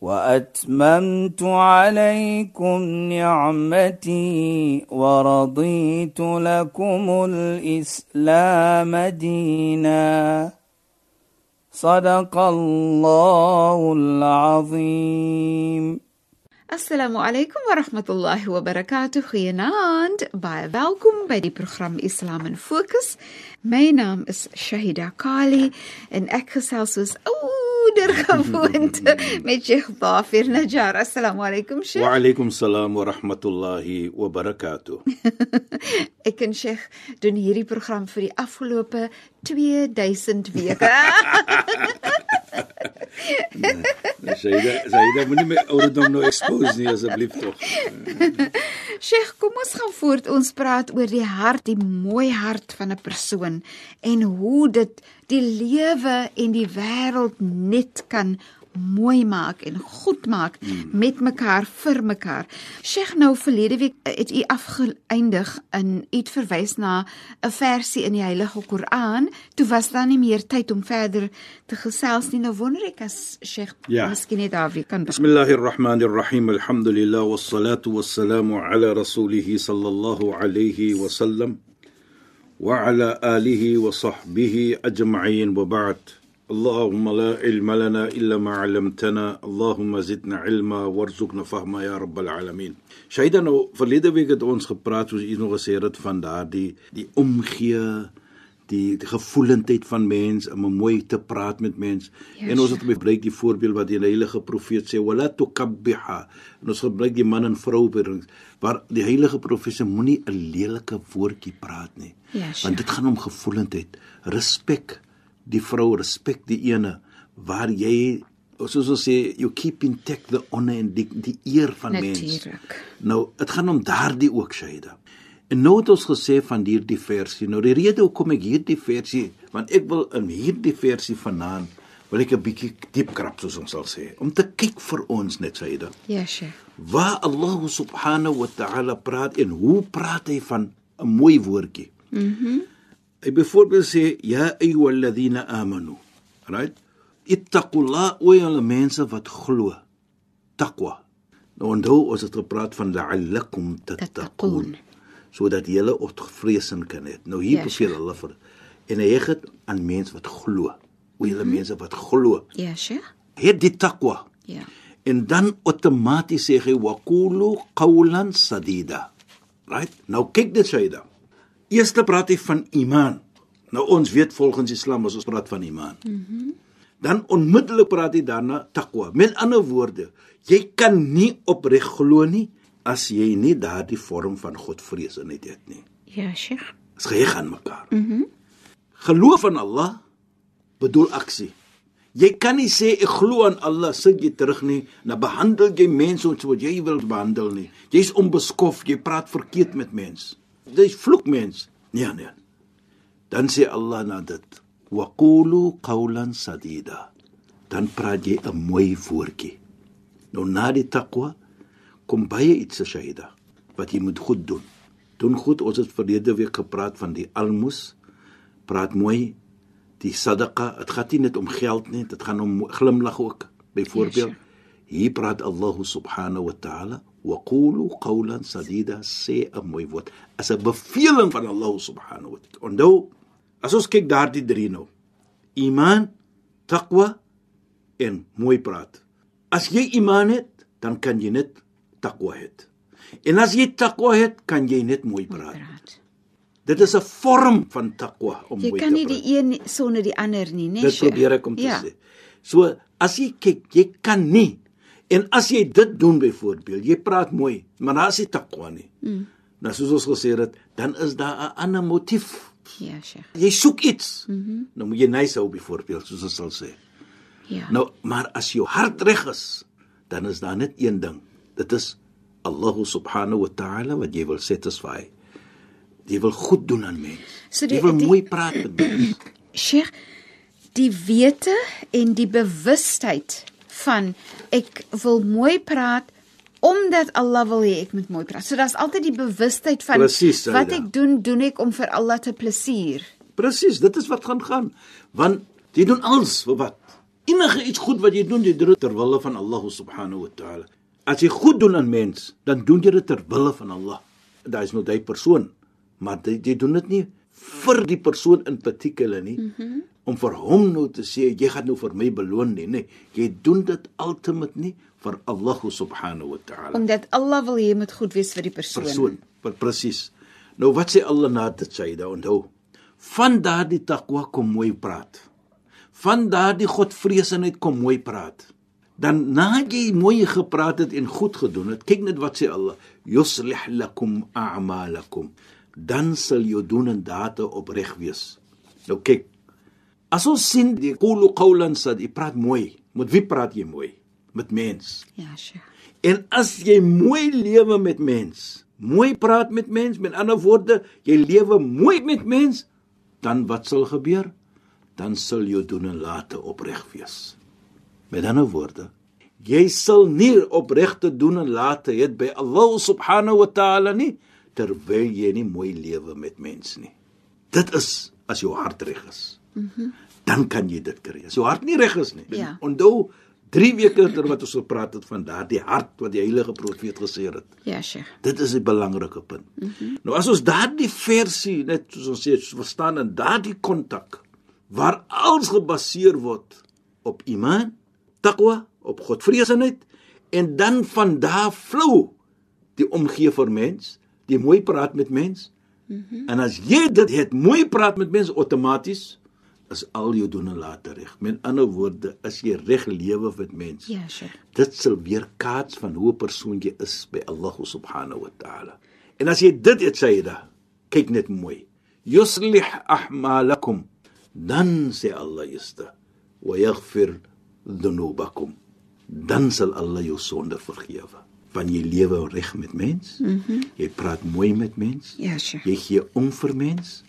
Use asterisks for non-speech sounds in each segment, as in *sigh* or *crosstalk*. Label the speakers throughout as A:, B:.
A: واتممت عليكم نعمتي ورضيت لكم الاسلام دينا صدق الله العظيم
B: Assalamu alaykum wa rahmatullahi wa barakatuh. Goeienaand. Baie welkom by die program Islam in Fokus. My naam is Shahida Kali en ek gesels soos ouer gewoonte met Sheikh Dafir Najjar. Assalamu alaykum Sheikh.
C: وعليكم السلام ورحمة الله وبركاته
B: Ek en Sheikh doen hierdie program vir die afgelope 2000 weke.
C: سيدة سيدة مني ما أريدهم نو إكسبوزني أسبليف توخ
B: Sheikh, kom ons gaan voort. Ons praat oor die hart, die mooi hart van 'n persoon en hoe dit die lewe en die wêreld net kan mooi maak en goed maak
C: Hmm.
B: met mekaar vir mekaar. Sheikh, nou verlede week het u afgeëindig in u het verwys na 'n versie in die Heilige Koran. Toe was daar nie meer tyd om verder te gesels nie. Nou wonder ek as Sheikh
C: Ja.
B: miskien net daar weer kan begin.
C: بسم الله الرحمن الرحيم الحمد لله والصلاة والسلام على رسوله صلى الله عليه وسلم وعلى آله وصحبه أجمعين وبعد اللهم لا علم لنا إلا ما علمتنا اللهم زدنا علما وارزقنا فهما يا رب العالمين Shaida nou verlede week het ons gepraat soos u nog gesê het van daardie die omgee die, die gevoelendheid van mens om mooi te praat met mens.
B: Ja,
C: Yes, en ons het gebruik die voorbeeld wat die heilige profeet sê wala tukabbiha. En ons gebruik die man en vrou verhoudings waar die heilige profeet sê moenie 'n lelike woordjie praat nie.
B: Ja, Sheikh.
C: want dit gaan om gevoelendheid, respek die vrou, respek die ene waar jy soos ons sê you keep intact the honor en die, die eer van mens.
B: Natuurlik.
C: Nou, dit gaan om daardie ook Shaida. En nou het ons gesê van hierdie versie. Nou die rede hoekom ek hierdie versie, want ek wil in hierdie versie vanaand wil ek 'n bietjie diep krap soos ons sal sê, om te kyk vir ons net Shaida.
B: Ja, Sheikh.
C: Waar Allah subhanahu wa ta'ala praat en hoe praat hy van 'n mooi woordjie. Mhm. Mm hy byvoorbeeld sê ja ayyuhalladhina amanu. Right? Ittaqullah o julle mense wat glo. Taqwa. Nou onthou ons het gepraat van la'allakum
B: Tattaqun.
C: tattaqun sodat julle ontvreesing kan hê. Nou hier
B: Ja,
C: beveel hulle vir en hy heg dit aan mense wat glo. O julle mense wat glo.
B: Ja, Sheikh.
C: Het die taqwa.
B: Ja.
C: En dan outomaties sê hy waqulu qawlan sadida. Right? Nou kyk dit Shaida. Eers praat hy van iman. Nou ons weet volgens Islam as ons praat van iman. Mm -hmm. Dan onmiddellik praat hy daarna taqwa. Met ander woorde, jy kan nie opreg glo nie as jy nie daardie vorm van godvreesenheid het nie.
B: Ja, Sheikh.
C: Dis geheg aan mekaar. Mhm. Mm Geloof aan Allah bedoel aksie. Jy kan nie sê ek glo aan Allah sit jy terug nie, dan behandel jy mense soos wat jy wil behandel nie. Jy's onbeskof, jy praat verkeerd met mense. Jy's vloek mens. Nee nee. Dan sê Allah na dit: "Wa qulu qawlan sadida." Dan praat jy 'n mooi woordjie. Nou na die taqwa kom baie iets se Shaida wat jy moet goed doen. Doen goed. Ons het verlede week gepraat van die almos. Praat mooi die sadaqa. Dit gaan nie net om geld nie, dit gaan om glimlag ook. Byvoorbeeld
B: Yes,
C: hier praat Allah subhanahu wa ta'ala wa qulu qawlan sadida sê 'n mooi woord as 'n beveling van Allah subhanahu wa ta'ala. Onthou, as ons kyk daardie drie nou. Iman, taqwa en mooi praat. As jy iman het, dan kan jy net taqwa hê. En as jy taqwa het, kan jy net mooi praat.
B: Praat.
C: Dit is 'n vorm van taqwa om
B: Jy
C: mooi
B: kan
C: te
B: nie
C: praat.
B: die een sonder die ander nie, né?
C: Dit
B: Sheikh?
C: probeer ek om te
B: ja.
C: sê. So as jy kyk, jy kan nie. En as jy dit doen byvoorbeeld, jy praat mooi, maar daar is nie taqwa nie. Mm. Nou soos ons gesê het, dan is daar 'n ander motief.
B: Ja, Sheikh.
C: Jy soek iets. Mm
B: Mhm.
C: -hmm. Nou moet jy nice hou byvoorbeeld, soos ons sal sê.
B: Ja.
C: Nou, maar as jou hart reg is, dan is daar net een ding. Dit is Allah subhanahu wa ta'ala wat jy wil satisfy. Jy wil goed doen aan mense.
B: So die-
C: jy wil
B: die-
C: mooi praat met mense.
B: Sheikh, die wete en die bewustheid van ek wil mooi praat omdat Allah wil hê ek moet mooi praat. So daar's altyd die bewustheid van
C: Presies, Saida.
B: wat ek doen, doen ek om vir Allah te plesier.
C: Presies, dit is wat gaan gaan. Want jy doen alles vir wat? Enige iets goed wat jy doen, jy doen dit ter wille van Allah subhanahu wa ta'ala. As jy goed doen aan mens, dan doen jy dit ter wille van Allah. Daar is nou daai persoon, maar jy, jy doen dit nie vir die persoon in particular nie. Mm -hmm. Om vir hom nou te sê jy gaan nou vir my beloon nie, nee. Jy doen dit ultimate nie vir Allah subhanahu wa ta'ala
B: Omdat Allah wil hê moet goed wees vir die persoon.
C: persoon. Per- Presies. Nou wat sê Allah na dit sê hy, onthou. Van daardie takwa kom mooi praat. Van daardie godvreesenheid kom mooi praat. Dan na jy mooi gepraat het en goed gedoen het, kyk net wat sê Allah, yuslih lakum a'malakum. Dan sal jou doen en date opreg wees. Nou kyk. As ons sien die qulu qawlan sad, jy praat mooi. Met wie praat jy mooi? Met mens.
B: Ja, Sheikh.
C: En as jy mooi lewe met mens, mooi praat met mens, met ander woorde, jy lewe mooi met mens, dan wat sal gebeur? Dan sal jou doen en late opreg wees. Met ander woorde, jy sal nie opregte doen en late het by Allah subhanahu wa ta'ala nie terwyl jy nie mooi lewe met mens nie. Dit is as jou hart reg is. Mhm. Mm dan kan jy dit kry. As jou hart nie reg is nie.
B: Ja.
C: Onthou 3 weke ter wat ons gepraat het van daardie hart wat die heilige profeet gesê het.
B: Ja, Sheikh.
C: Dit is 'n belangrike punt. Mm -hmm. Nou as ons daardie versie net soos ons sê verstaan in daardie kontak waar alles gebaseer word op iman, taqwa, op godvreesenheid en dan van daar vlou die omgee vir mens, die mooi praat met mens. Mm -hmm. En as jy dit het, mooi praat met mense outomaties is al jou doen en later reg. Met ander woorde, as jy reg lewe met mens,
B: Ja, Sheikh.
C: dit sal weer kaats van hoe 'n persoon jy is by Allah subhanahu wa ta'ala. En as jy dit het Sayyida, kyk net mooi. Yuslih ahmalakum. Dan sê Allah jista wa yaghfir dhunubakum. Dan sal Allah jou sonde vergewe. Want jy lewe reg met mens. Mm -hmm. Jy praat mooi met mens.
B: Ja, Sheikh.
C: Jy gee om vir mens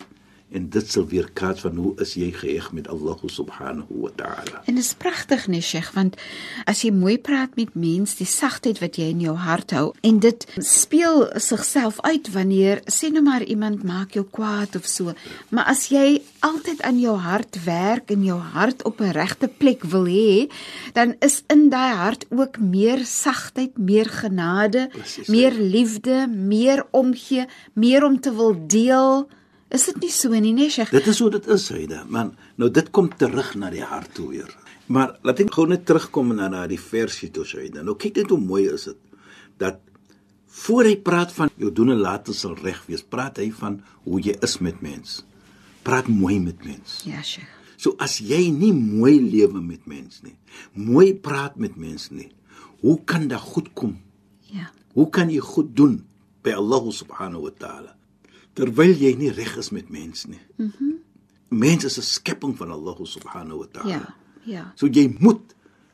C: en dit sal weer kaats van hoe is jy geheg met Allah subhanahu wa ta'ala.
B: En dit is pragtig, nee Sheikh, want as jy mooi praat met mens, die sagtheid wat jy in jou hart hou en dit speel sigself uit wanneer sê nou maar iemand maak jou kwaad of so, maar as jy altyd aan jou hart werk en jou hart op 'n regte plek wil hê, dan is in daai hart ook meer sagtheid, meer genade,
C: Precies, ja.
B: meer liefde, meer omgee, meer om te wil deel. Is dit nie so nie, nee Sheikh?
C: Dit is hoe dit is, Heide. Man, nou dit kom terug na die hart toe weer. Maar laat ek gou net terugkom na na die versie toe, Heide. Nou kyk net hoe mooi is dit dat voor hy praat van jou doen en late sal reg wees, praat hy van hoe jy is met mens. Praat mooi met mens.
B: Ja, Sheikh.
C: So as jy nie mooi lewe met mens nie, mooi praat met mens nie, hoe kan dit goed kom?
B: Ja.
C: Hoe kan jy goed doen by Allah subhanahu wa ta'ala terwyl jy nie reg is met mens nie? Mhm. Mm mens is 'n skepping van Allah subhanahu wa ta'ala.
B: Ja. Ja.
C: So jy moet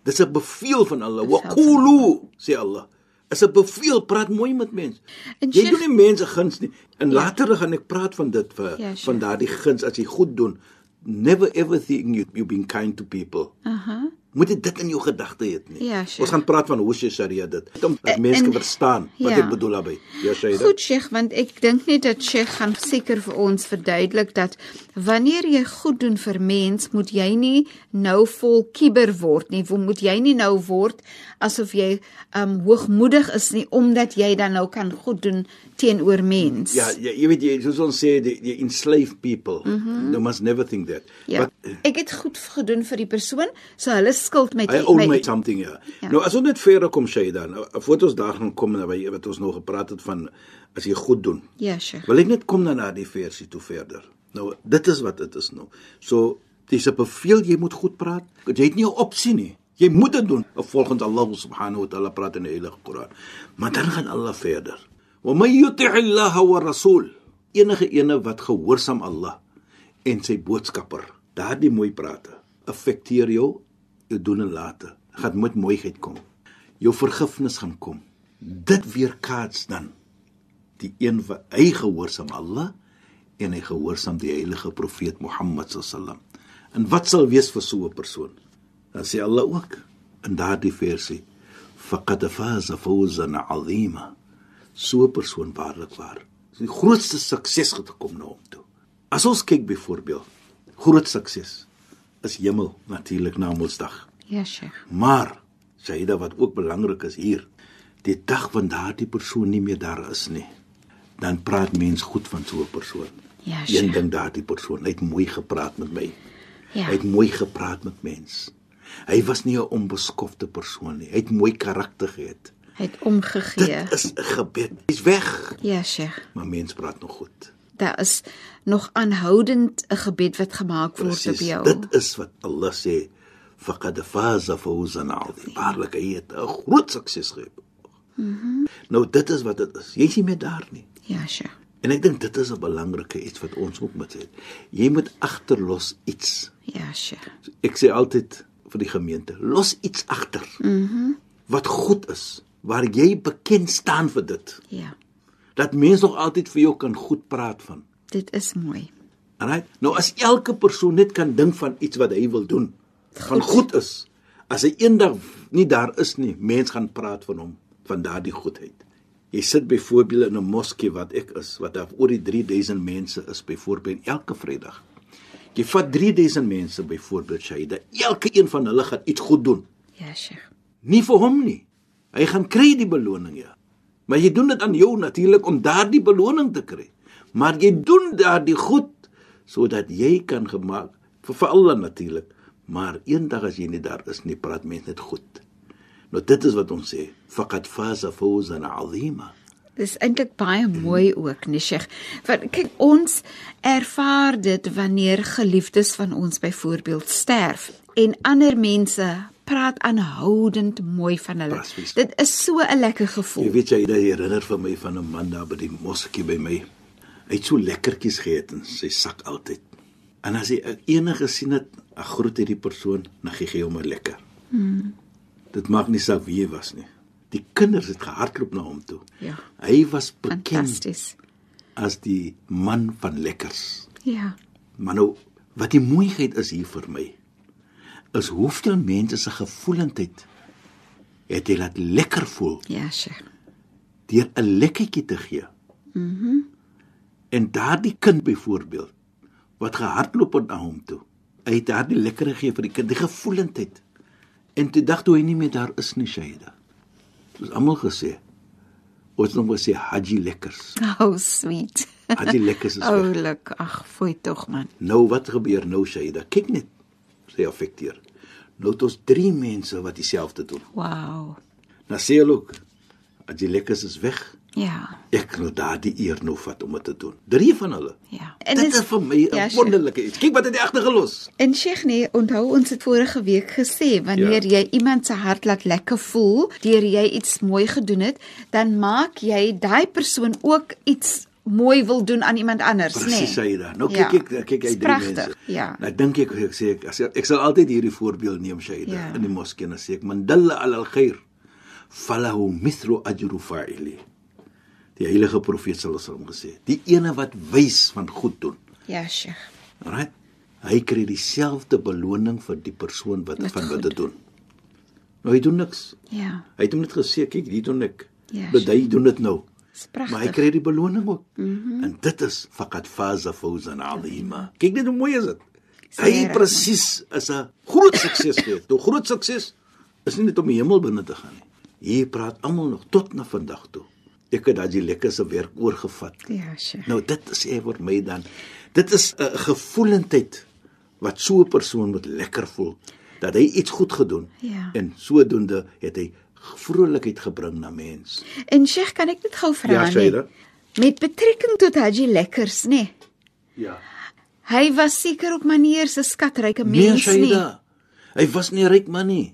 C: dis 'n bevel van Allah. Wa
B: Bevel van
C: qulu sê Allah. Is 'n bevel, praat mooi met mens.
B: En
C: jy
B: Sheikh-
C: doen nie mense guns nie. En ja. later gaan ek praat van dit vir
B: Ja,
C: ja,
B: Sheikh.
C: van daardie guns as jy goed doen. Never ever think you you being kind to people.
B: Aha.
C: Moet jy dit in jou gedagte hê nie.
B: Ja, Sheikh.
C: Ons gaan praat van hoe sy Sharia dit. Net Om dat mense
B: en-
C: kan verstaan wat
B: ja.
C: ja. ek bedoel daarmee. Ja, Shaida.
B: Goed Sheikh, want ek dink net dat Sheikh gaan seker vir ons verduidelik dat wanneer jy goed doen vir mens, moet jy nie nou vol kieber word nie. Wo- Moet jy nie nou word asof jy um hoogmoedig is nie omdat jy dan nou kan goed doen teenoor mens.
C: Ja, ja, jy weet jy soos ons sê die, die enslaved people. Mm -hmm. They must never think that.
B: Mhm. Ja.
C: But
B: Ek het goed gedoen vir die persoon, so hulle skuld my
C: I owe
B: my-
C: me something ja.
B: Ja.
C: Nou as ons net verder kom Shaida, nou voordat ons daar gaan kom na by wat ons nou gepraat het van as jy goed doen.
B: Ja, Sheikh.
C: Wil ek net kom dan na die versie toe verder. Nou dit is wat dit is nou. So dis 'n bevel jy moet goed praat. Jy het nie 'n opsie nie. Jy moet dit doen. Volgens Allah subhanahu wa ta'ala praat in die Heilige Koran. Maar dan gaan Allah verder. Wa may yuti' Allah wa rasul. Enige ene wat gehoorsaam Allah en sy boodskapper. Daardie mooi prate affekteer jou jou doen en late. Gaan met mooiheid kom. Jou vergifnis gaan kom. Dit weerkaats dan die een wat hy gehoorsaam Allah en hy gehoorsaam die heilige profeet Mohammed sallam. En wat sal wees vir so 'n persoon? Dan sê Allah ook in daardie versie: "Faqad faza fawzan 'azima." So 'n persoon waarlik waar. Is die grootste sukses gekom na hom toe. As ons kyk byvoorbeeld, groot sukses is hemel natuurlik na Mondsdag.
B: Ja, Sheikh.
C: Maar Saida wat ook belangrik is hier, die dag wanneer daardie persoon nie meer daar is nie, dan praat mens goed van so 'n persoon.
B: Ja,
C: Een
B: Sheikh.
C: ding daardie persoon, hy het mooi gepraat met my.
B: Ja.
C: Hy het mooi gepraat met mens. Hy was nie 'n onbeskofte persoon nie. Hy het mooi karakter gehad.
B: Hy het
C: Dit
B: omgegee.
C: is 'n gebed. Hy's weg,
B: Ja, Sheikh.
C: maar mens praat nog goed.
B: Daar is nog aanhoudend 'n gebed wat gemaak word op
C: Presies.
B: jou.
C: Dit is wat Allah sê, faqad faza fawzan 'azim. Waarlik hy het 'n groot sukses gehad. Mhm. Nou dit is wat dit is. Jy's nie meer daar nie.
B: Ja, Sheikh.
C: En ek dink dit is 'n belangrike iets wat ons ook moet hê. Jy moet agterlos iets.
B: Ja, Sheikh.
C: Ek sê altyd vir die gemeente, los iets agter. Mhm. Wat goed is, waar jy bekend staan vir dit.
B: Ja.
C: Dat mense nog altyd vir jou kan goed praat van.
B: Dit is mooi.
C: Right? Nou as elke persoon net kan dink van iets wat hy wil doen, van goed is. As hy eendag nie daar is nie, mense gaan praat van hom, van daardie goedheid. Jy sit byvoorbeeld in 'n moskee wat ek is, wat daar oor die 3000 mense is byvoorbeeld elke Vrydag. Jy vat 3000 mense byvoorbeeld Shaida, elke een van hulle gaan iets goed doen.
B: Ja, Sheikh.
C: Nie vir hom nie. Hy gaan kry die beloning ja. Maar jy doen dit aan jou natuurlik om daardie beloning te kry. Maar jy doen daardie goed sodat jy kan gemaak vir vir Allah natuurlik. Maar eendag as jy nie daar is nie, praat mense net goed. Nou dit is wat ons sê, faqad faza fawzan 'azima.
B: Dis eintlik baie mooi ook, nee Sheikh. Want kyk, ons ervaar dit wanneer geliefdes van ons byvoorbeeld sterf en ander mense praat aanhoudend mooi van hulle.
C: Presies.
B: Dit is so 'n lekker
C: Jy
B: gevoel.
C: weet jy, dit herinner vir my van 'n man daar by die moskee by my. Hy het so lekkertjies geëet in sy sak altyd. En as hy enige sien het, ek groet hierdie persoon, dan gee hy hom 'n lekker. Mm. Dit maak nie saak wie hy was nie. Die kinders het gehardloop na hom toe.
B: Ja.
C: Hy was bekend
B: Fantasties.
C: as die man van lekkers.
B: Ja.
C: Maar nou, wat die moeilikheid is hier vir my, is hoeveel mense se gevoelendheid het hy laat lekker voel
B: Ja, Sheikh.
C: deur 'n lekkertjie te gee. Mhm. Mm en daardie kind byvoorbeeld wat gehardloop het na hom toe. Hy het daardie lekker gegee vir die kind, die gevoelendheid. En toe dag toe hy nie meer daar is nie, Shaida. Soos almal gesê. Ons het nog gesê haji lekkers.
B: *laughs* Oh, sweet.
C: Haji lekkers is
B: *laughs*
C: weg.
B: Oulik. Ag, fooi tog man.
C: Nou wat gebeur nou, Shaida? Kyk net. Sy affekteer. Nou het ons drie mense wat dieselfde doen.
B: Wow.
C: Nou sê hulle ook, haji lekkers is weg.
B: Ja.
C: Ek nou daardie eer nou vat om dit te doen. Drie van hulle.
B: Ja.
C: En dit is vir my 'n
B: Ja,
C: ja,
B: Sheikh.
C: wonderlike iets. Kyk wat het hy agtergelos.
B: En Sheikh nee, onthou ons het vorige week gesê wanneer ja. jy iemand se hart laat lekker voel deur jy iets mooi gedoen het, dan maak jy daai persoon ook iets mooi wil doen aan iemand anders, né?
C: Presies sê jy daar. Nou
B: Ja.
C: kyk ek kyk
B: Dis
C: hy drie
B: pragtig,
C: mense.
B: Ja.
C: Nou dink ek ek sê ek as ek ek sal altyd hierdie voorbeeld neem Shaida
B: Ja.
C: ja. in die moskee en sê ek man dalla ala al-khair falahu mithlu ajru fa'ili. Die heilige profeet sal ons hom gesê. Die ene wat wys van goed doen.
B: Ja, Sheikh.
C: Right? Hy kry dieselfde beloning vir die persoon wat
B: Wat
C: van
B: goed
C: wat dit doen. Nou hy doen niks.
B: Ja.
C: Hy het hom net gesê, kyk, hier doen ek.
B: Ja,
C: Dat hy doen dit nou.
B: Dis pragtig. Mhm.
C: Maar hy kry die beloning ook. Mm -hmm. En dit is faqad faza fawzan 'azima. Kyk net hoe mooi is dit. Hy
B: reg,
C: presies is 'n groot sukses gehad. Nou groot sukses is nie net om die hemel binne te gaan nie. Hier praat almal nog tot na vandag toe. Ek het daai lekker se werk oorgevat.
B: Ja, Sheikh.
C: Nou dit is eer vir my dan. Dit is 'n gevoelendheid wat so 'n persoon moet lekker voel dat hy iets goed gedoen
B: Ja.
C: en sodoende het hy vrolikheid gebring na mens.
B: En Sheikh, kan ek dit gou vra nee?
C: Ja, Shaida.
B: Met betrekking tot Haji Lekkers, né?
C: Ja.
B: Hy was seker op manier se skatryke
C: Nee,
B: mens nie.
C: Shaida. Hy was nie 'n ryk man nie.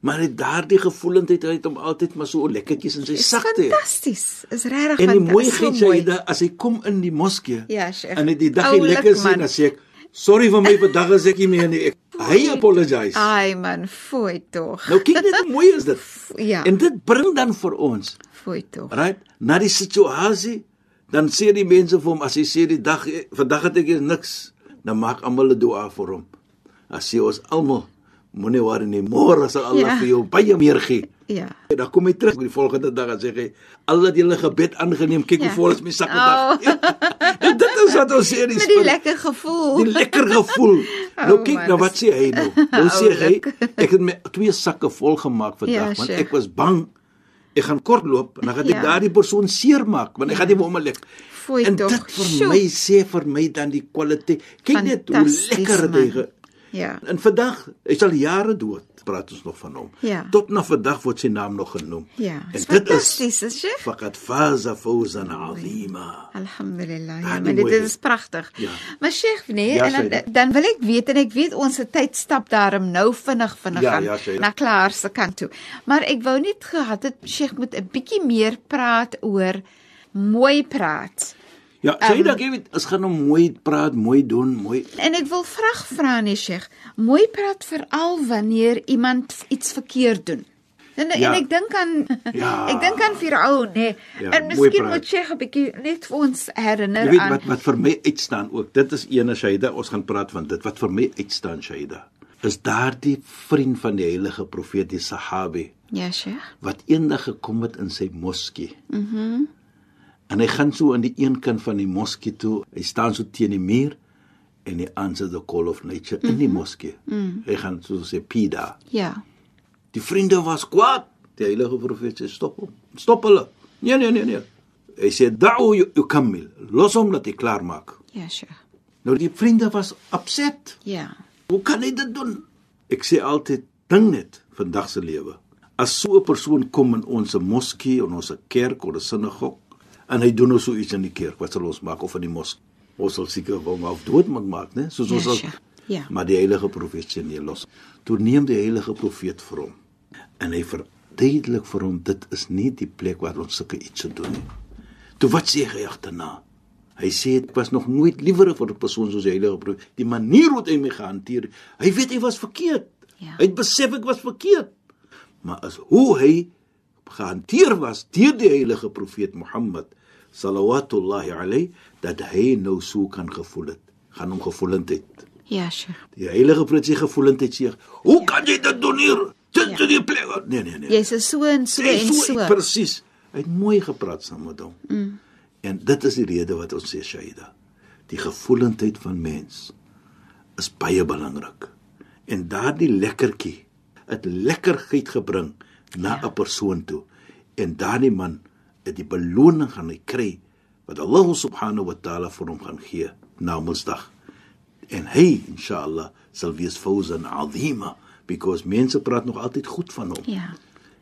C: Maar hy het daardie gevoelendheid hy het hom altyd maar so lekkertjies in sy
B: Dis
C: sak te hê.
B: fantasties. Is regtig
C: En die
B: fantasties.
C: mooi
B: So
C: geit Shaida as hy kom in die moskee
B: Ja, Sheikh.
C: en hy die dag hy
B: Oulik
C: lekker
B: man.
C: sien dan sê ek Sorry vir my vandag as ek nie meer nie. Ek, hy apologize.
B: Ai man, fooi tog.
C: Nou kyk net hoe mooi is
B: *laughs*
C: dit.
B: Ja.
C: En dit bring dan vir ons,
B: Fooi tog.
C: right? Na die situasie, dan sê die mense vir hom as hy sê die dag eh, vandag het ek hier niks, dan maak almal 'n dua vir hom. As sê ons almal moenie worry nie, môre sal Allah
B: Ja.
C: vir jou baie meer gee.
B: Ja.
C: En dan kom hy terug die volgende dag en sê hy, "Al het julle gebed aangeneem. Kyk
B: Ja. Oh.
C: hoe vol is my sak vandag." *laughs* En dit is wat ons sê in die
B: Met die
C: spin.
B: lekker gevoel.
C: Die lekker
B: *laughs*
C: gevoel. nou kyk
B: Oh, man,
C: nou wat sê hy nou. Nou sê hy
B: Oulik.
C: ek het my twee sakke vol gemaak vandag
B: Ja,
C: want
B: Sheikh.
C: ek was bang ek gaan kortloop en dan gaan ek
B: Ja.
C: daardie persoon seermaak want ek gaan nie vir hom lek.
B: Foei
C: En
B: toch,
C: dit vir
B: sjoe.
C: my sê vir my dan die kwaliteit. Kyk net hoe
B: Fantasties,
C: lekker
B: man.
C: dit hy.
B: Ja.
C: En vandag, hy's al jare dood, praat ons nog van hom.
B: Ja.
C: Tot na vandag word sy naam nog genoem.
B: Ja.
C: En
B: Dis
C: dit
B: fantasties,
C: is
B: is jy?
C: faqad faza fawzan 'azima.
B: Alhamdulillah.
C: Ah,
B: Ja,
C: die
B: maar dit
C: mooi
B: is
C: is.
B: pragtig.
C: Ja.
B: Maar Sheikh, nee,
C: Ja,
B: en dan,
C: Sheikh.
B: dan wil ek weet en ek weet ons se tyd stap daarom nou vinnig vinnig
C: Ja,
B: aan
C: ja, Sheikh.
B: na Klaar se kant toe. Maar ek wou net gehad het Sheikh moet 'n bietjie meer praat oor mooi praat.
C: Ja, sê
B: Ehm,
C: um, dat jy weet, as gaan hom mooi praat, mooi doen, mooi
B: En ek wil vraag vra nee Sheikh, mooi praat veral wanneer iemand iets verkeerd doen. En, ja.
C: Ja.
B: en ek dink aan ja.
C: *laughs* Ja.
B: ek dink aan Farao, nee. Ja,
C: Ja,
B: en
C: mooi
B: miskien
C: praat.
B: moet Sheikh 'n bietjie net vir ons herinner
C: Jy weet
B: aan
C: wat wat vir my uitstaan ook. Dit is eene Shaida, ons gaan praat van dit. Wat vir my uitstaan Shaida is daardie vriend van die heilige profeet die Sahabi
B: Ja, Sheikh.
C: wat eendag gekom het in sy moskee. Mhm. Mm en hy gaan so aan die een kant van die moskee toe. Hy staan so teen die muur en hy answer the call of nature mm -hmm. in die moskee. Mm -hmm. Hy gaan so sê pida.
B: Ja.
C: Die vriende was kwaad. Die heilige profeet sê stop hom. Stop hulle. Nee nee nee nee. Hy sê da'u yu- yukammil. Los hom dat hy klaar maak.
B: Ja, Sheikh.
C: Nou die vriende was upset.
B: Ja.
C: Hoe kan hy dit doen? Ek sê altyd ding net vandag se lewe. As so 'n persoon kom in ons moskee en ons kerk of 'n sinagoge en hy doen nou so iets in die kerk, wat sal ons maak of in die moskee? Ons sal seker hom af dood moet maak, né? Soos
B: Ja,
C: ons
B: sure.
C: al
B: Ja.
C: Maar die heilige profeet sê nee, los. Toe neem die heilige profeet vir hom en hy verduidelik vir hom dit is nie die plek waar ons sulke iets se doen nie. Toe wat sê hy agterna? Hy sê ek was nog nooit liewer vir 'n persoon soos die heilige profeet. Die manier hoe hy my gehanteer, hy weet hy was verkeerd.
B: Ja.
C: Hy het besef ek was verkeerd. Maar as hoe hy gehanteer was deur die heilige profeet Mohammed sallallahu alayhi dat hy nou so kan gevoel het, gaan hom gevoelendheid.
B: Ja, Sheikh.
C: Die heilige profeet se gevoelendheid sê, "Hoe ja. kan jy dit doen hier? Dit
B: Ja.
C: ja. die plek." Nee, nee, nee.
B: Jy's 'n so en so
C: Hy
B: en
C: is
B: so.
C: Presies. Hy het mooi gepraat saam met hom. Mm. En dit is die rede wat ons sê Shaida. Die gevoelendheid van mens is baie belangrik. En daardie lekkertjie, dit lekkerheid gebring na 'n ja. persoon toe. En daardie man het die beloning gaan hy kry wat Allah subhanahu wa taala vir hom gaan gee na Mondsdag. En hy, inshallah, sal wees fawzan azima because mense praat nog altyd goed van hom.
B: Ja.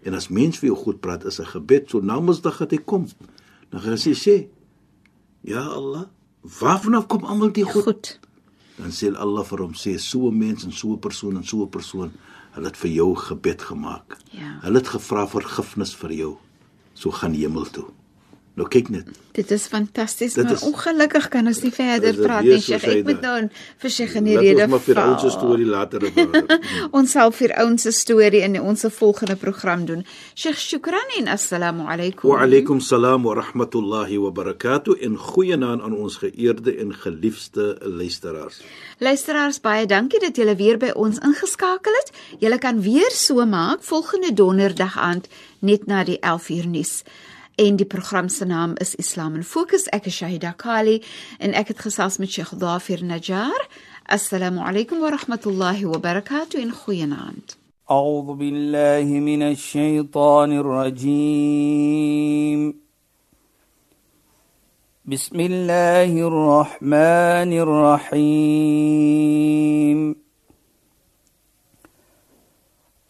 C: En as mens vir jou goed praat is 'n gebed, so na Mondsdag het hy kom. Dan gaan hy sê, "Ja Allah, waarvan kom almal die goed?"
B: Goed.
C: Dan sê Allah vir hom sê, "So 'n mens en so 'n persoon en so 'n persoon, hulle het vir jou gebed gemaak.
B: Ja.
C: Hulle het gevra vergifnis vir jou. So gaan hemel toe." Nou kyk net.
B: Dit is fantasties,
C: Dit
B: maar
C: is-
B: ongelukkig kan ons nie verder
C: Is dit
B: praat
C: weer
B: nie,
C: so,
B: Sheikh. Ek
C: Saida?
B: moet nou in versigtig in die
C: Laat
B: rede
C: ons maar vir
B: val.
C: ons se storie later bewaar.
B: *laughs* Ons sal vir ons storie in ons volgende program doen. Sheikh, shukran en assalamu alaykum.
C: Wa alaykum salaam wa rahmatullahi wa barakatuh en goeienaand aan ons geëerde en geliefde luisteraars.
B: Luisteraars, baie dankie dat julle weer by ons ingeskakel het. Julle kan weer so maak volgende donderdag aand net na die 11uur nuus. En die program se naam is Islam in Fokus. Ek is Shahida Kali en ek het gesels met Sheikh Dafir Najjar. Assalamu alaykum wa rahmatullahi wa barakatuh en goeienaand.
A: أعوذ بالله من الشيطان الرجيم بسم الله الرحمن الرحيم